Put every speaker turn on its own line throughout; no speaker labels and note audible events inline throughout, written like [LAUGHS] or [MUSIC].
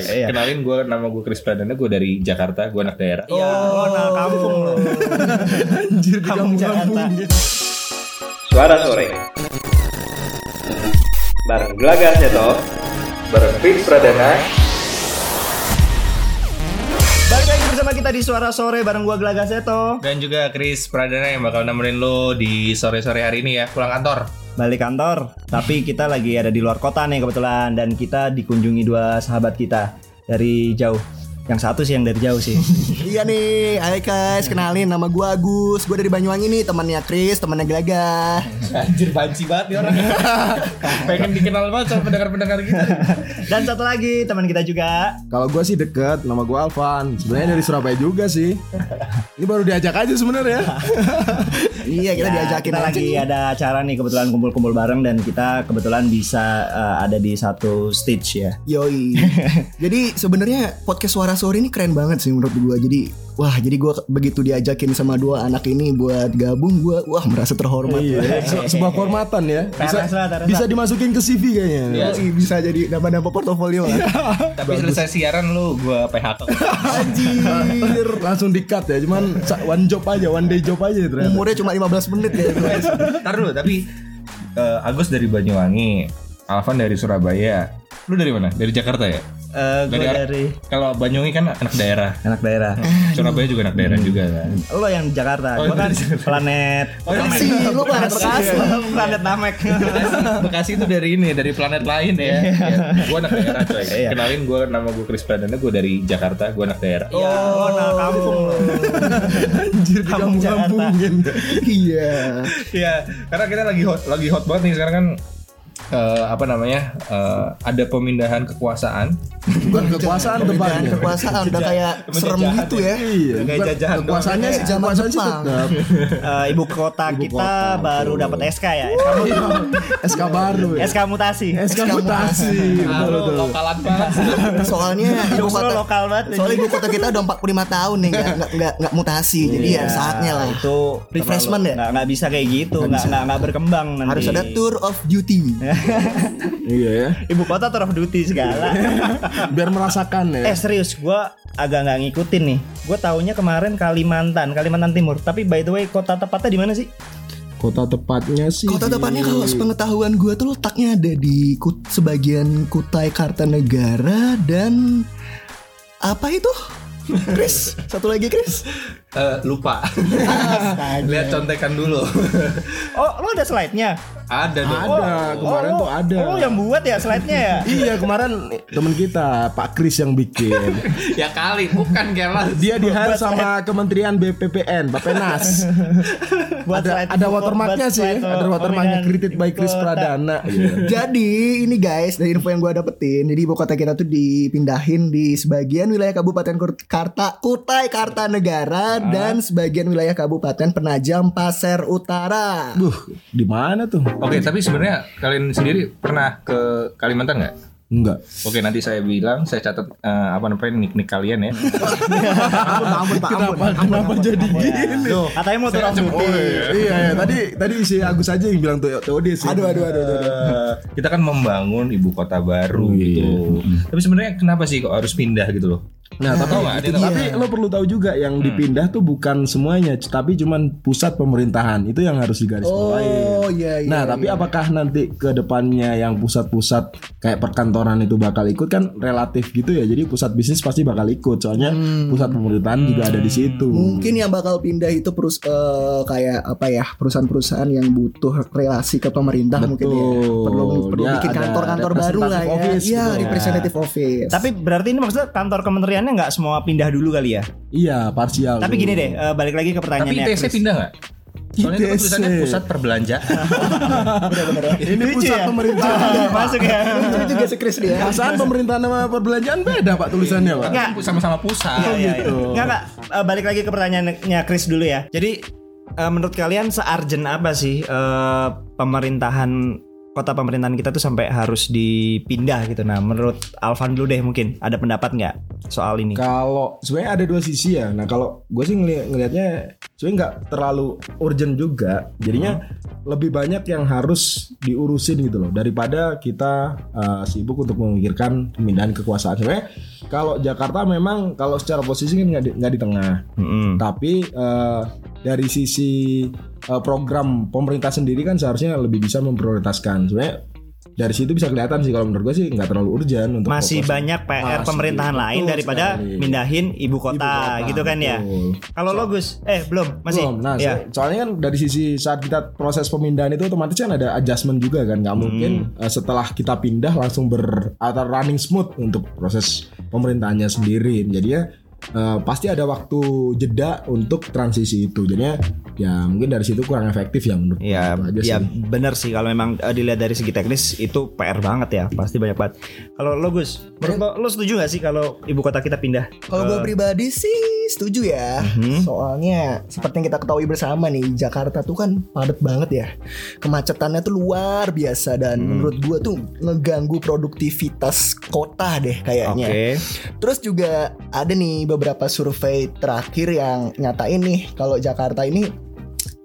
[LAUGHS]
ya.
Iya.
Kenalin gue nama gue Chris Pradana, gue dari Jakarta, gue anak daerah.
Iya, oh, nah kampung lo.
Anjir di
Kampung Jakarta.
Suara Sore Bareng Gelagar Seto Bareng Fix Pradana
Balik lagi bersama kita di Suara Sore bareng gua Gelaga Seto.
Dan juga Chris Pradana yang bakal nemenin lo di sore-sore hari ini ya, pulang kantor.
Balik kantor, tapi kita lagi ada di luar kota nih kebetulan dan kita dikunjungi dua sahabat kita dari jauh. Yang satu sih yang dari jauh sih.
[LAUGHS] Iya nih, ayo guys, kenalin nama gue Agus Gue dari Banyuwangi nih, temannya Chris, temannya Gelaga
Anjir banci banget nih orang. [LAUGHS] Pengen dikenal banget sama pendengar-pendengar gitu. [LAUGHS] kita.
Dan satu lagi teman kita juga.
Kalau gua sih deket, nama gua Alvan. Sebenarnya dari Surabaya juga sih. Ini baru diajak aja sebenarnya.
Iya, kita
Ya,
diajakin
kita
aja
lagi
nih.
ada acara nih kebetulan kumpul-kumpul bareng dan kita kebetulan bisa eh, ada di satu stage ya.
[LAUGHS]
Yoi Jadi sebenarnya podcast Suara Sore ini keren banget sih menurut gue Jadi, wah jadi gue begitu diajakin sama dua anak ini buat gabung Gue, wah merasa terhormat
Iya, se- sebuah kehormatan ya. Bisa,
Teras lah, teras lah.
bisa dimasukin ke CV kayaknya.
Iya.
Yoi, bisa jadi nama-nama portofolio lah
Tapi selesai siaran lo, gue [LAUGHS] PHK.
[LAUGHS] Anjir, langsung di-cut ya. Cuman sa- one job aja, one day job aja ternyata.
Umurnya cuma 15 menit
[LAUGHS]
ya guys
Ntar dulu, tapi eh, Agus dari Banyuwangi, Alvan dari Surabaya. Lu dari mana? Dari Jakarta ya?
Eh, gua
Dari
dari,
arah- Kalau Banyuwangi kan anak daerah.
anak daerah.
Surabaya juga anak daerah juga kan.
Lo yang di Jakarta,
Oh,
gua kan
dari Jakarta.
planet Iya.
Si, lu planet Bekasi
planet Namek.
Bekasi- Bekasi itu dari ini dari planet lain ya. ya. Gue anak daerah coy.
Iya.
Kenalin gue nama gue Chris Pradana, gue dari Jakarta, gue anak daerah.
Iya, oh, nah kampung lo.
Anjir, di
Kampung Jakarta.
kampung-kampungin.
Iya
Iya, karena kita lagi hot lagi hot banget nih sekarang kan eh, apa namanya eh, ada pemindahan kekuasaan
Bukan kekuasaan
Perbedaan
depannya.
kekuasaan udah kayak serem gitu ya
Iya,
Kayak
bukan-
jajahan doang.
kekuasaannya
Kayak zaman
kekuasaan sih
Jepang.
tetap.
Eh, ibu kota kita baru dapat SK ya. SK, mut-
SK baru ya.
SK mutasi.
SK mutasi.
Ah,
Betul,
lu
betul.
lokalan banget sih.
Nah,
[LAUGHS]
Soalnya ibu
Jokes lo
kota
lokal banget.
Soalnya ibu kota kita udah 45 tahun nih nggak nggak nggak- nggak mutasi. Jadi ya
Iya.
saatnya lah.
itu
Refreshment ya?
nggak nggak bisa kayak gitu nggak nggak nggak berkembang nanti
Harus ada tour of
[LAUGHS]
duty.
Iya ya.
ibu kota tour of duty
[LAUGHS]
segala
Biar merasakan
eh
ya.
serius gua agak nggak ngikutin nih gue taunya kemarin Kalimantan Kalimantan Timur tapi by the way kota tepatnya di mana sih
Kota tepatnya sih. di-
Kota tepatnya kalau sepengetahuan gue tuh letaknya ada di Kut- sebagian Kutai Kartanegara dan apa itu?
[LAUGHS]
Chris, satu lagi Chris.
[LAUGHS] Eh, [LAUGHS] lupa. Lihat contekan dulu.
oh lo ada slide nya
ada dong.
Ada, kemarin
lo-
tuh ada.
lo yang buat ya slide nya ya
Iya kemarin temen kita Pak Kris yang bikin.
Ya kali, bukan kelas.
Dia di hire sama Kementerian BPPN,
[LAUGHS]
Bapenas.
Buat
ada
slide
ada
buat-
watermarknya
buat
sih,
slide
ada
lo-
watermarknya
pemilihan
kredit by
ibu
Kris
kota.
Pradana. Iya.
Jadi ini guys dari info yang gue dapetin, jadi ibu kota kita tuh dipindahin di sebagian wilayah Kabupaten Kurt- Karta Kutai
Ah.
Kartanegara dan sebagian wilayah Kabupaten Penajam Pasir Utara.
Duh, di mana tuh?
Oke, tapi sebenarnya kalian sendiri pernah ke Kalimantan nggak?
Enggak.
Oke nanti saya bilang saya catat eh, apa namanya nick nick kalian ya.
ampun,
Ah,
ampun, Pak, ampun.
Kenapa, kenapa jadi [LAUGHS] gini?
Tuh, katanya mau tour of duty
Iya, iya, tadi tadi si Agus aja yang bilang tuh TOD sih.
Aduh, aduh, aduh, aduh.
Eh, kita kan membangun ibu kota baru
Iya.
gitu. Tapi sebenarnya kenapa sih kok harus pindah gitu loh?
Nah, tapi,
Tahu nggak? Ada yang tahu? Hmm.
tapi lo perlu tahu juga yang dipindah tuh bukan semuanya, c- tapi cuman pusat pemerintahan itu yang harus digarisbawahi.
Oh, iya, iya.
Nah, tapi apakah nanti ke depannya yang pusat-pusat kayak perkantoran itu bakal ikut kan relatif gitu ya. Jadi pusat bisnis pasti bakal ikut. Soalnya pusat pemerintahan juga ada di situ.
Mungkin yang bakal pindah itu perus eh, kayak apa ya perusahaan-perusahaan yang butuh relasi ke pemerintah mungkin ya
Betul.
perlu perlu
Dia
bikin
ada
kantor-kantor baru lah
representative
ya.
office gitu
Iya
ya.
representative office.
tapi berarti ini maksudnya kantor kementeriannya nggak semua pindah dulu kali ya
Iya, parsial.
tapi
dulu.
gini deh eh, balik lagi ke
Tapi
pertanyaannya
ITC
Chris.
pindah nggak? Soalnya itu kan
ITC.
tulisannya pusat perbelanjaan.
ini
Lucu
pusat
ya?
pemerintahan.
[LAUGHS] masuk
[LAUGHS]
ya
Itu juga si Chris dia.
Perasaan pemerintahan sama perbelanjaan beda, Pak, tulisannya, Pak.
Nggak.
Kan [LAUGHS] sama-sama pusat.
Iya,
gitu.
iya. Nggak, Kak. Eh, balik lagi ke pertanyaannya Chris dulu ya. Jadi eh, menurut kalian searjen apa sih eh, pemerintahan kota pemerintahan kita tuh sampai harus dipindah gitu. Nah, menurut Alvan dulu deh mungkin ada pendapat nggak? soal ini?
Kalau sebenarnya ada dua sisi ya. Nah kalau gue sih ngeli- ngelihatnya sebenarnya nggak terlalu urgent juga. Jadinya
Hmm.
lebih banyak yang harus diurusin gitu loh daripada kita eh, sibuk untuk memikirkan pemindahan kekuasaan. Sebenarnya kalau Jakarta memang kalau secara posisi kan nggak di, nggak di tengah.
Mm-mm.
Tapi eh, dari sisi eh, program pemerintah sendiri kan seharusnya lebih bisa memprioritaskan. Sebenarnya dari situ bisa kelihatan sih kalau menurut gue sih nggak terlalu urgent untuk
Masih
fokus.
banyak PR
Masih,
pemerintahan
betul
lain daripada
sekali.
mindahin ibu
Ibu
kota, gitu kan ya.
betul.
Kalau lo Gus, eh belum, masih.
Belum. Nah,
ya.
so- soalnya kan dari sisi saat kita proses pemindahan itu otomatis kan ada adjustment juga kan. Nggak mungkin
Hmm.
eh, setelah kita pindah langsung ber atau running smooth untuk proses pemerintahannya sendiri. Jadinya eh, pasti ada waktu jeda untuk transisi itu. Jadinya ya mungkin dari situ kurang efektif ya menurut
Ya,
gue. Itu aja
ya
sih.
benar sih kalau memang eh, dilihat dari segi teknis itu PR banget ya, pasti banyak banget. Kalau lo Gus, menurut lo, lo setuju gak sih kalau ibu kota kita pindah?
Kalau gue pribadi sih setuju ya.
Hmm?
Mhm.
Soalnya seperti yang kita ketahui bersama nih, Jakarta tuh kan padat banget ya. Kemacetannya tuh luar biasa dan
Hmm.
menurut gue tuh ngeganggu produktivitas kota deh kayaknya. Terus juga ada nih beberapa survei terakhir yang nyatain nih kalau Jakarta ini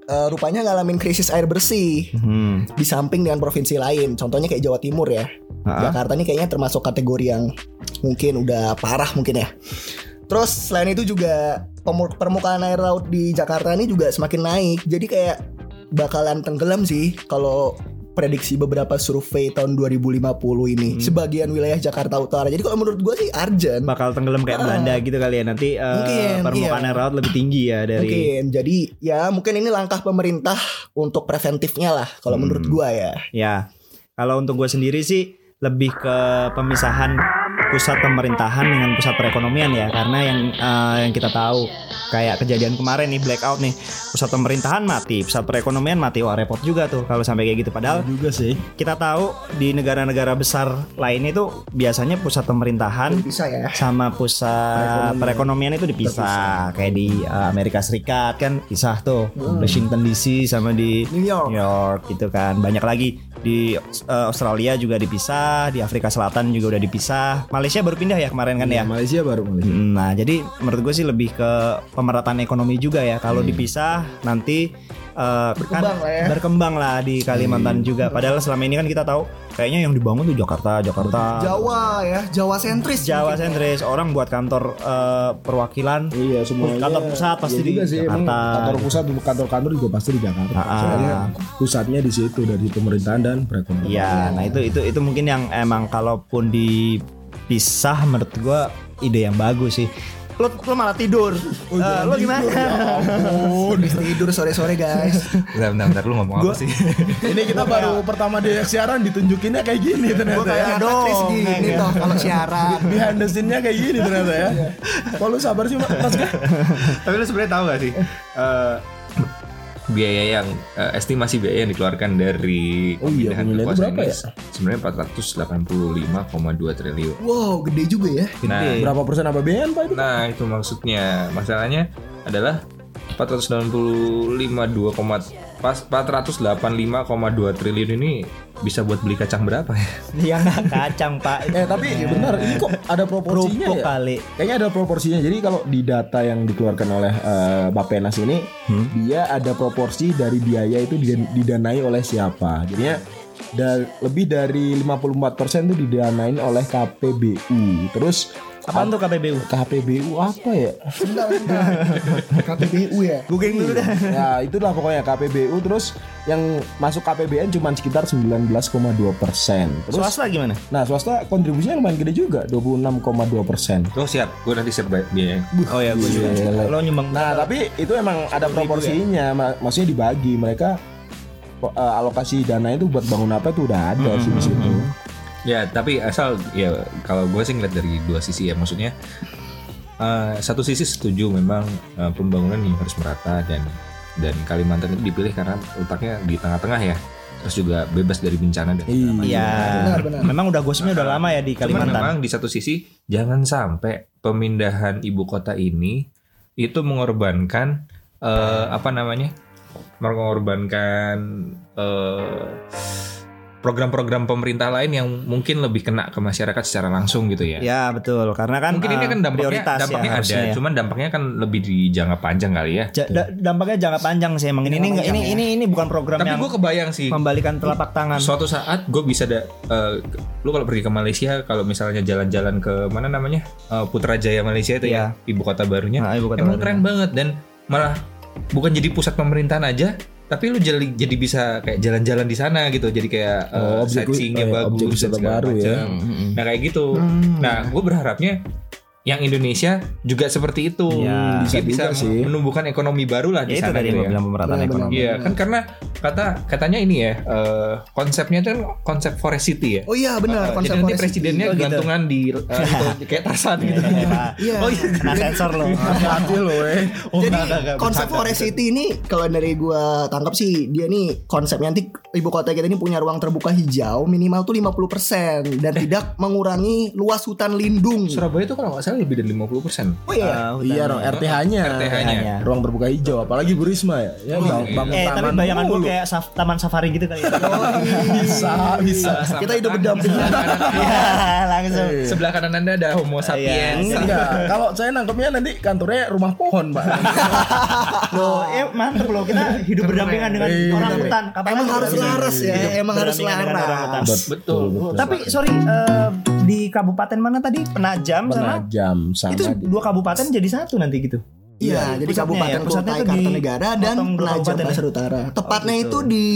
eh, rupanya ngalamin krisis air bersih
Hmm.
di samping dengan provinsi lain. Contohnya kayak Jawa Timur ya.
Ah.
Jakarta ini kayaknya termasuk kategori yang mungkin udah parah mungkin ya. Terus selain itu juga pemu- permukaan air laut di Jakarta ini juga semakin naik. Jadi kayak bakalan tenggelam sih kalau prediksi beberapa survei tahun 2050 ini sebagian wilayah Jakarta Utara. Jadi kalau menurut gue sih Arjen
Bakal tenggelam kayak
Ah.
Belanda gitu kali ya nanti eh,
Mungkin,
permukaan
iya.
air laut lebih tinggi ya dari
Mungkin jadi ya mungkin ini langkah pemerintah untuk preventifnya lah kalau
Hmm.
menurut gua ya.
Ya, kalau untuk gue sendiri sih lebih ke pemisahan pusat pemerintahan dengan pusat perekonomian ya, karena yang eh, yang kita tahu kayak kejadian kemarin nih blackout nih, pusat pemerintahan mati, pusat perekonomian mati, wah repot juga tuh kalau sampai kayak gitu. Padahal
juga sih.
kita tahu di negara-negara besar lain itu biasanya pusat pemerintahan
Bisa ya.
sama pusat perekonomian, itu dipisah kayak di uh, Amerika Serikat kan pisah tuh Washington DC sama di
Hmm. New York.
gitu kan banyak lagi di uh, Australia juga dipisah di Afrika Selatan juga udah dipisah Malaysia baru pindah ya kemarin
Iya,
kan ya
Iya, Malaysia baru Malaysia.
Nah, jadi menurut gue sih lebih ke pemerataan ekonomi juga ya. Kalau dipisah nanti eh,
Hmm. Berkembang lah ya. Iya.
berkembang lah di Kalimantan juga. Padahal selama ini kan kita tahu kayaknya yang dibangun tuh Jakarta, Jakarta,
Jawa ya, Jawa sentris.
Jawa
mungkin.
sentris. Orang buat kantor eh, perwakilan.
Iya semuanya.
Kantor pusat pasti
Iya juga
di
sih, emang
Jakarta.
Kantor pusat untuk kantor-kantor juga pasti di Jakarta.
Ah, ah.
Soalnya pusatnya di situ dari pemerintahan dan perekonomian.
Iya, nah itu itu itu mungkin yang emang kalaupun dipisah menurut gue ide yang bagus sih. Lo, lo malah tidur.
Oh,
Eh,
iya.
lo gimana?
Habis tidur sore-sore
[LAUGHS]
guys.
Bentar, bentar, bentar, lu ngomong apa sih?
Ini kita baru pertama di siaran ditunjukinnya kayak gini
Iya. Gua
ternyata ya.
Iya
kayak
dong,
Patris gini
kayak-
toh kalau siaran.
Behind the scene-nya kayak gini ternyata ya.
Iya.
Kok lu sabar sih, Mas?
[LAUGHS] Tapi lu sebenarnya tahu gak sih? eh, biaya yang eh, estimasi biaya yang dikeluarkan dari
Oh iya,
pemindahan
pemindahan itu
kekuasaan ini
berapa ya?
sebenarnya 485,2 triliun.
Wow, gede juga ya.
Nah,
Berapa persen apa BN, Pak itu?
Nah itu maksudnya Masalahnya adalah 495 2, pas 485,2 triliun ini bisa buat beli kacang berapa ya?
yang Iya, kacang pak.
Eh, tapi benar, ini kok ada proporsinya
kerupuk
ya?
kali.
Kayaknya ada proporsinya. Jadi kalau di data yang dikeluarkan oleh eh, Bapenas ini,
Hmm?
dia ada proporsi dari biaya itu didan- didanai oleh siapa. Jadinya da- lebih dari 54% itu didanain oleh KPBU. Terus
Apaan tuh KPBU?
KPBU apa ya?
Bentar, bentar. KPBU ya.
Googling dulu dah.
ya itulah pokoknya KPBU terus yang masuk KPBN cuma sekitar 19,2 persen. Terus
Swasta gimana?
nah swasta kontribusinya lumayan gede juga 26,2 persen.
Oh siap, gue nanti share biaya.
Oh ya, gue juga. Lo nyumbang.
Nah tapi itu emang
ya?
ada proporsinya, ma- maksudnya dibagi mereka po- eh, alokasi dana itu buat bangun apa itu udah ada sih di situ.
Mm-hmm.
Ya tapi asal ya kalau gue sih ngeliat dari dua sisi ya maksudnya eh, satu sisi setuju memang eh, pembangunan yang harus merata dan dan Kalimantan itu dipilih karena letaknya di tengah-tengah ya terus juga bebas dari bencana dan segala macam.
Iya.
Benar, benar.
Memang udah gosipnya udah lama ya di
Cuman
Kalimantan.
memang di satu sisi jangan sampai pemindahan ibu kota ini itu mengorbankan eh, apa namanya mengorbankan eh, program-program pemerintah lain yang mungkin lebih kena ke masyarakat secara langsung gitu ya.
Ya betul karena kan
mungkin ini
eh,
kan dampaknya
prioritas
dampaknya
ya,
ada,
harusnya ya.
cuman dampaknya kan lebih di jangka panjang kali ya.
Ja- da- dampaknya jangka panjang sih emang ini ini
Gitu. Jangka
ini
panjang ya.
ini ini bukan program
Tapi
yang
gue kebayang sih
membalikan telapak
Kan.
tangan.
suatu saat gue bisa ada lu kalau pergi ke Malaysia kalau misalnya jalan-jalan ke mana namanya Eh, Putrajaya Malaysia itu ya
Iya.
ibu kota barunya
iya,
Nah, ibu kota
emang
barunya.
keren banget dan malah bukan jadi pusat pemerintahan aja tapi lu jadi jadi bisa kayak jalan-jalan di sana gitu jadi kayak eh,
Oh, objek-
sightseeingnya
eh,
bagus
objek
dan
wisata
segala
baru ya. Hmm.
macam.
Hmm,
nah kayak gitu
Hmm.
nah gue berharapnya yang Indonesia juga seperti itu
Iya.
Dia
Bisa
bisa,
juga sih.
menumbuhkan ekonomi baru lah
Ya
di
itu
sana
tadi
gitu
gue
ya.
bilang pemerataan
Benar,
ekonomi.
Iya kan karena kata katanya ini ya eh, konsepnya itu kan konsep forest city ya.
Oh iya benar
Eh,
konsep
Jadi nanti
forest
presidennya
city. Oh, gitu.
gantungan di eh, itu, kayak tarsan gitu.
Iya.
Oh iya.
Kena sensor loh.
Hati lo weh.
Oh,
Jadi
nggak, nggak, nggak,
konsep
bercanda,
Forest
bercanda.
City ini kalau dari gua tangkap sih dia nih konsepnya nanti ibu kota kita ini punya ruang terbuka hijau minimal tuh 50%
[LAUGHS]
dan tidak mengurangi luas hutan lindung.
Surabaya itu kalau nggak salah lebih dari 50 persen.
Oh iya.
Ah, hutan.
Iya dong RTH-nya.
RTH-nya.
Ruang berbuka hijau apalagi Bu Risma ya. Ya bang,
iya.
bangun
Eh tapi
taman
bayangan gue
mulu.
kayak saf- taman safari gitu
[LAUGHS]
kali.
Oh, iya.
bisa bisa.
Kita hidup berdampingan.
Iya langsung.
Eh.
Eh.
Sebelah kanan anda ada Homo sapiens.
Enggak, kalau saya nangkepnya nanti kantornya rumah pohon, Pak.
Loh, eh mantep loh kita hidup berdampingan dengan
Iya.
orang hutan. Kapan
Emang
lagi
harus
kita
laras ya,
hidup
emang harus
berdampingan dengan orang hutan?
laras.
Betul.
Tapi sorry eh, di kabupaten mana tadi Penajam sama
Penajam sama
itu
di-
dua kabupaten jadi satu nanti gitu.
Iya, jadi
pusatnya
kabupaten
ya, pusatnya
Kutai
tuh di-
Kartanegara dan
potong dua
Penajam
kabupaten ya?
Pasir Utara. Tepatnya
Oh, gitu.
itu di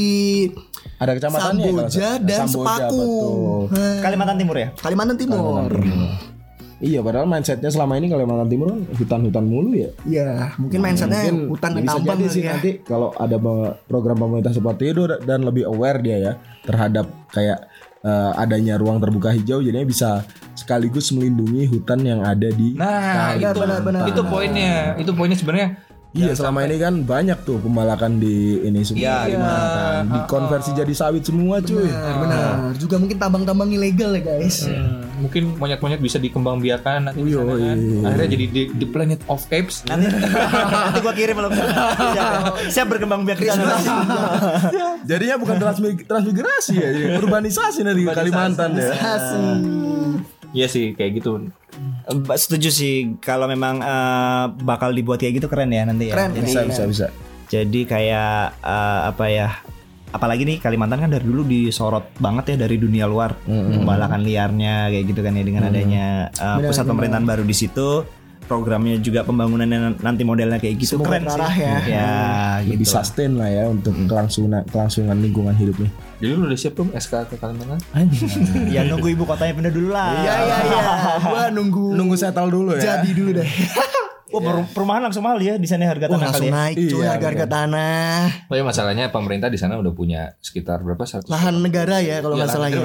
ada kecamatannya ya, kalau
Samboja
nggak salah.
dan
Samboja,
Sepaku.
betul.
Hah,
Kalimantan Timur ya.
Kalimantan Timur.
Iya, padahal mindsetnya selama ini Kalimantan Timur kan hutan-hutan mulu ya.
Iya, mungkin mindsetnya hutan dan
bisa
tambang
jadi sih
kali ya.
nanti kalau ada be- program pemerintah seperti itu dan lebih aware dia ya terhadap kayak eh, adanya ruang terbuka hijau jadinya bisa sekaligus melindungi hutan yang ada di
Nah
Benar,
itu
benar, benar.
itu poinnya. Itu poinnya sebenarnya. Ya,
Iya selama ini kan banyak tuh pembalakan di ini semua
Iya.
di mana kan. dikonversi jadi sawit semua cuy.
Benar, benar. Juga mungkin tambang-tambang ilegal ya, guys.
hmm, mungkin monyet-monyet bisa dikembangbiakan nanti di
Iya,
sana kan.
iya.
Akhirnya jadi di, di planet of apes.
[LAUGHS]
Nanti, nanti gua kirim loh. Siap- Siap berkembang biak di sana.
[LAUGHS] Jadinya bukan transmi- transmigrasi ya, ya. urbanisasi dari Kalimantan ya.
Iya sih kayak gitu.
Ba- Setuju sih kalau memang eh, bakal dibuat kayak gitu keren ya nanti ya.
Keren.
Jadi,
Bisa bisa bisa.
jadi kayak eh, apa ya? Apalagi nih Kalimantan kan dari dulu disorot banget ya dari dunia luar, pembalakan liarnya kayak gitu kan ya dengan adanya eh, pusat pemerintahan baru di situ, programnya juga pembangunannya nan- nanti modelnya kayak gitu
Semoga
keren
terarah
sih.
ya.
Ya,
Hmm, Lebih
gitu.
sustain lah ya untuk kelangsungan kelangsungan lingkungan hidupnya.
Jadi lu udah siap belum SK ke Kalimantan?
ya nunggu ibu kotanya pindah dulu lah.
Iya iya iya. Gua nunggu
Nunggu settle dulu ya.
jadi dulu deh.
Wah, per- perumahan langsung mahal ya di sana harga
iya. Wah,
tanah kali.
langsung
Ya.
naik cuy
Iya,
harga-harga tanah.
Oh ya masalahnya pemerintah di sana udah punya sekitar berapa? Iya, Satu
Lahan negara ya kalau nggak salah ya.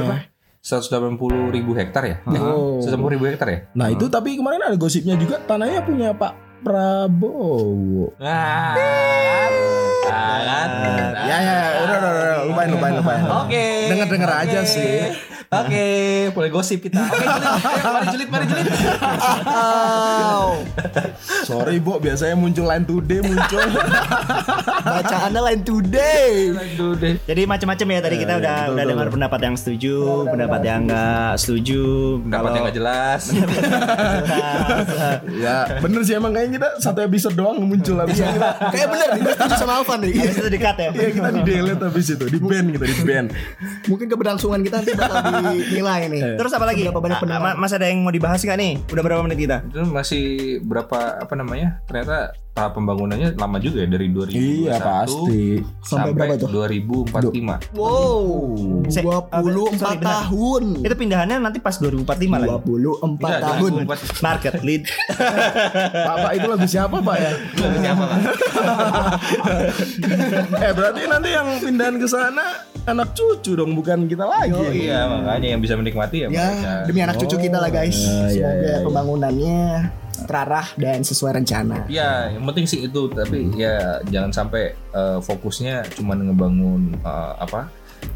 180 ribu hektar ya?
Oh.
180 ribu hektar ya?
Nah itu tapi kemarin ada gosipnya juga tanahnya punya Pak Prabowo.
Iya,
Sangat.
Ya ya, ya. udah udah udah lupain lupain lupain.
Oke.
Denger denger aja
Oke.
sih.
Oke, boleh gosip kita. Oke,
[LAUGHS]
julid. Ayo, mari julid, mari julid.
Oh,
Sorry Bo, biasanya muncul line today muncul. [LAUGHS]
bacaannya lain today.
Aduh deh.
Jadi macam-macam ya
Eh,
tadi kita udah udah dengar pendapat yang setuju, pendapat yang enggak setuju,
Pendapat yang gak jelas.
ya bener sih emang kayaknya kita satu episode doang muncul habis itu kita
Kayak bener, gue setuju sama Alvan deh.
Habis itu dekat ya.
Iya kita di delete habis itu di ban kita di ban.
Mungkin keberlangsungan kita nanti bakal dinilai nih.
Iya.
Terus apa lagi?
Berapa banyak
Ah,
pendengar?
ma- Mas ada yang mau dibahas nggak nih? Udah berapa menit kita?
Itu masih berapa apa namanya? Ternyata tahap pembangunannya lama juga ya dari 2000
Iya pasti.
Sampai berapa tuh?
2045.
Wow,
Se-
24
sorry, bentar.
tahun.
Itu pindahannya nanti pas 2045 lagi.
24
Enggak,
tahun.
2044.
Market lead.
Pak Pak itu lagu siapa Pak ya?
Lagu siapa, Pak?
Eh berarti nanti yang pindahan ke sana anak cucu dong bukan kita lagi.
Oh, iya, makanya yang bisa menikmati ya.
Ya,
mereka.
demi anak cucu kita lah guys.
Oh, iya,
Semoga
iya, iya.
pembangunannya terarah dan sesuai rencana.
Ya, yang penting sih itu. Tapi ya jangan sampai eh, fokusnya cuma ngebangun eh, apa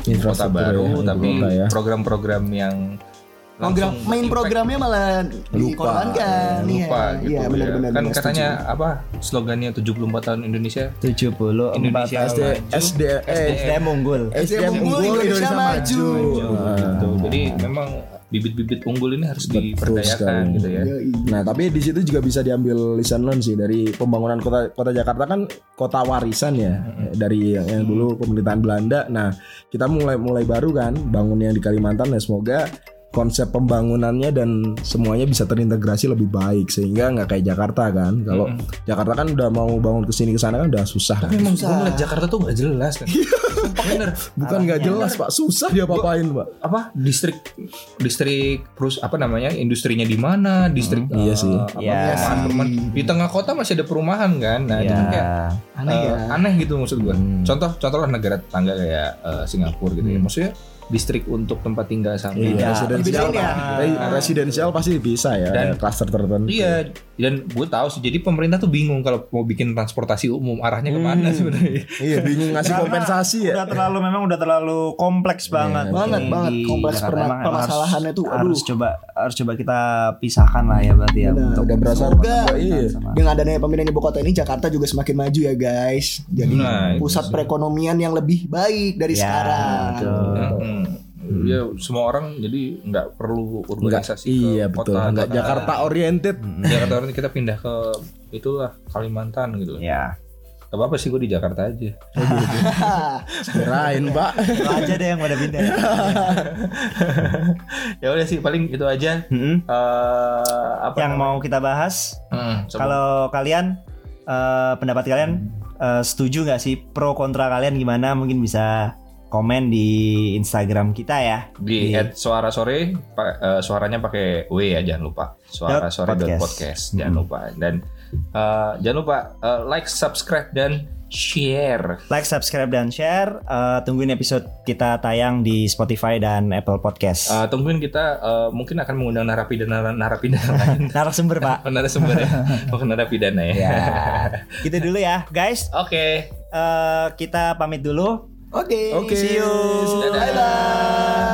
ibu kota
Infrastruktur ya,
baru,
ibu
tapi
kota ya.
program-program yang langsung
main
impact.
programnya malah
Lupa,
dikorbankan Iya,
lupa gitu
iya
ya.
benar-benar
kan
benar,
katanya
setuju.
apa slogannya 74 tahun Indonesia
74
Indonesia gitu.
SD SD E,
SDM unggul.
SDM unggul, Indonesia maju.
Nah, gitu. Jadi memang bibit-bibit unggul ini harus diperdayakan
sekali.
gitu ya.
Yoi.
Nah, tapi di situ juga bisa diambil lisan learn sih dari pembangunan kota kota Jakarta kan kota warisan ya dari yang, yang dulu pemerintahan Belanda. Nah, kita mulai mulai baru kan bangun yang di Kalimantan ya semoga konsep pembangunannya dan semuanya bisa terintegrasi lebih baik sehingga nggak kayak Jakarta kan. Kalau Jakarta kan udah mau bangun ke sini ke sana kan udah susah. kan.
Memang gue ngeliat Jakarta tuh nggak jelas kan. Sumpah bener.
Bukan nggak jelas, Pak. Susah dia papain, Pak.
Apa distrik distrik terus apa namanya industrinya di mana distrik eh,
Iya sih.
apa,
Iya.
perumahan, perumahan. di tengah kota masih ada perumahan kan. Nah itu kan kayak
Ya.
Iya. aneh
Eh,
ya
aneh gitu maksud gue. Contoh contoh lah negara tetangga kayak eh, Singapura gitu ya. Maksudnya distrik untuk tempat tinggal sama
Hmm. Iya, residensial.
dibedain ya.
Pak. Re- Residensial pasti bisa ya.
Ah. Dan-
ada klaster tertentu.
Iya, dan gue tahu sih. Jadi pemerintah tuh bingung kalau mau bikin transportasi umum arahnya kemana
[LAUGHS]
sebenarnya.
Iya, bingung ngasih
Karena
kompensasi ya.
Udah terlalu memang udah terlalu kompleks banget.
Banget,
ini
banget.
Iya. di
Kompleks
Jakarta.
perma-
Emang harus-
permasalahannya tuh, aduh.
Harus coba harus coba kita pisahkan lah ya berarti ya.
Benar.
untuk
Udah berasa
Semoga
iya.
sama-
dengan adanya pemindahan ibu kota ini Jakarta juga semakin maju ya guys. Jadi
Nah, itu sih.
pusat perekonomian yang lebih baik dari
Ya,
sekarang.
betul.
Mm-mm. Ya semua orang jadi nggak perlu
Enggak,
urbanisasi ke
iya
kota.
betul. Enggak
kota.
Jakarta oriented.
Jakarta orang kita pindah ke itulah Kalimantan gitu. Gak
Ya.
apa-apa sih gue di Jakarta aja.
[LAUGHS]
Kirain, Pak.
Lo aja deh yang pada [LAUGHS] pindah.
[LAUGHS] ya udah sih paling itu aja.
Mm-mm.
Eh, apa
Yang
namanya?
mau kita bahas
Hmm, sebelum-
Kalau kalian eh, pendapat kalian eh, setuju nggak sih pro kontra kalian gimana mungkin bisa komen di Instagram kita ya
di add suara sore pa- eh, suaranya pakai w ya jangan lupa suara
Dot
sore
podcast. Hmm.
dot podcast jangan lupa dan eh, jangan lupa eh, like subscribe dan share
like, subscribe dan share. Eh, tungguin episode kita tayang di Spotify dan Apple Podcast.
Eh, tungguin kita eh, mungkin akan mengundang narapidana narapidana lain
Narasumber Pak.
[LAUGHS] narasumber
[LAUGHS]
ya bukan narapidana ya,
Ya, gitu dulu ya guys.
[LAUGHS] oke
Eh, kita pamit dulu.
Oke.
Oke.
See you.
Dadah.
Bye bye.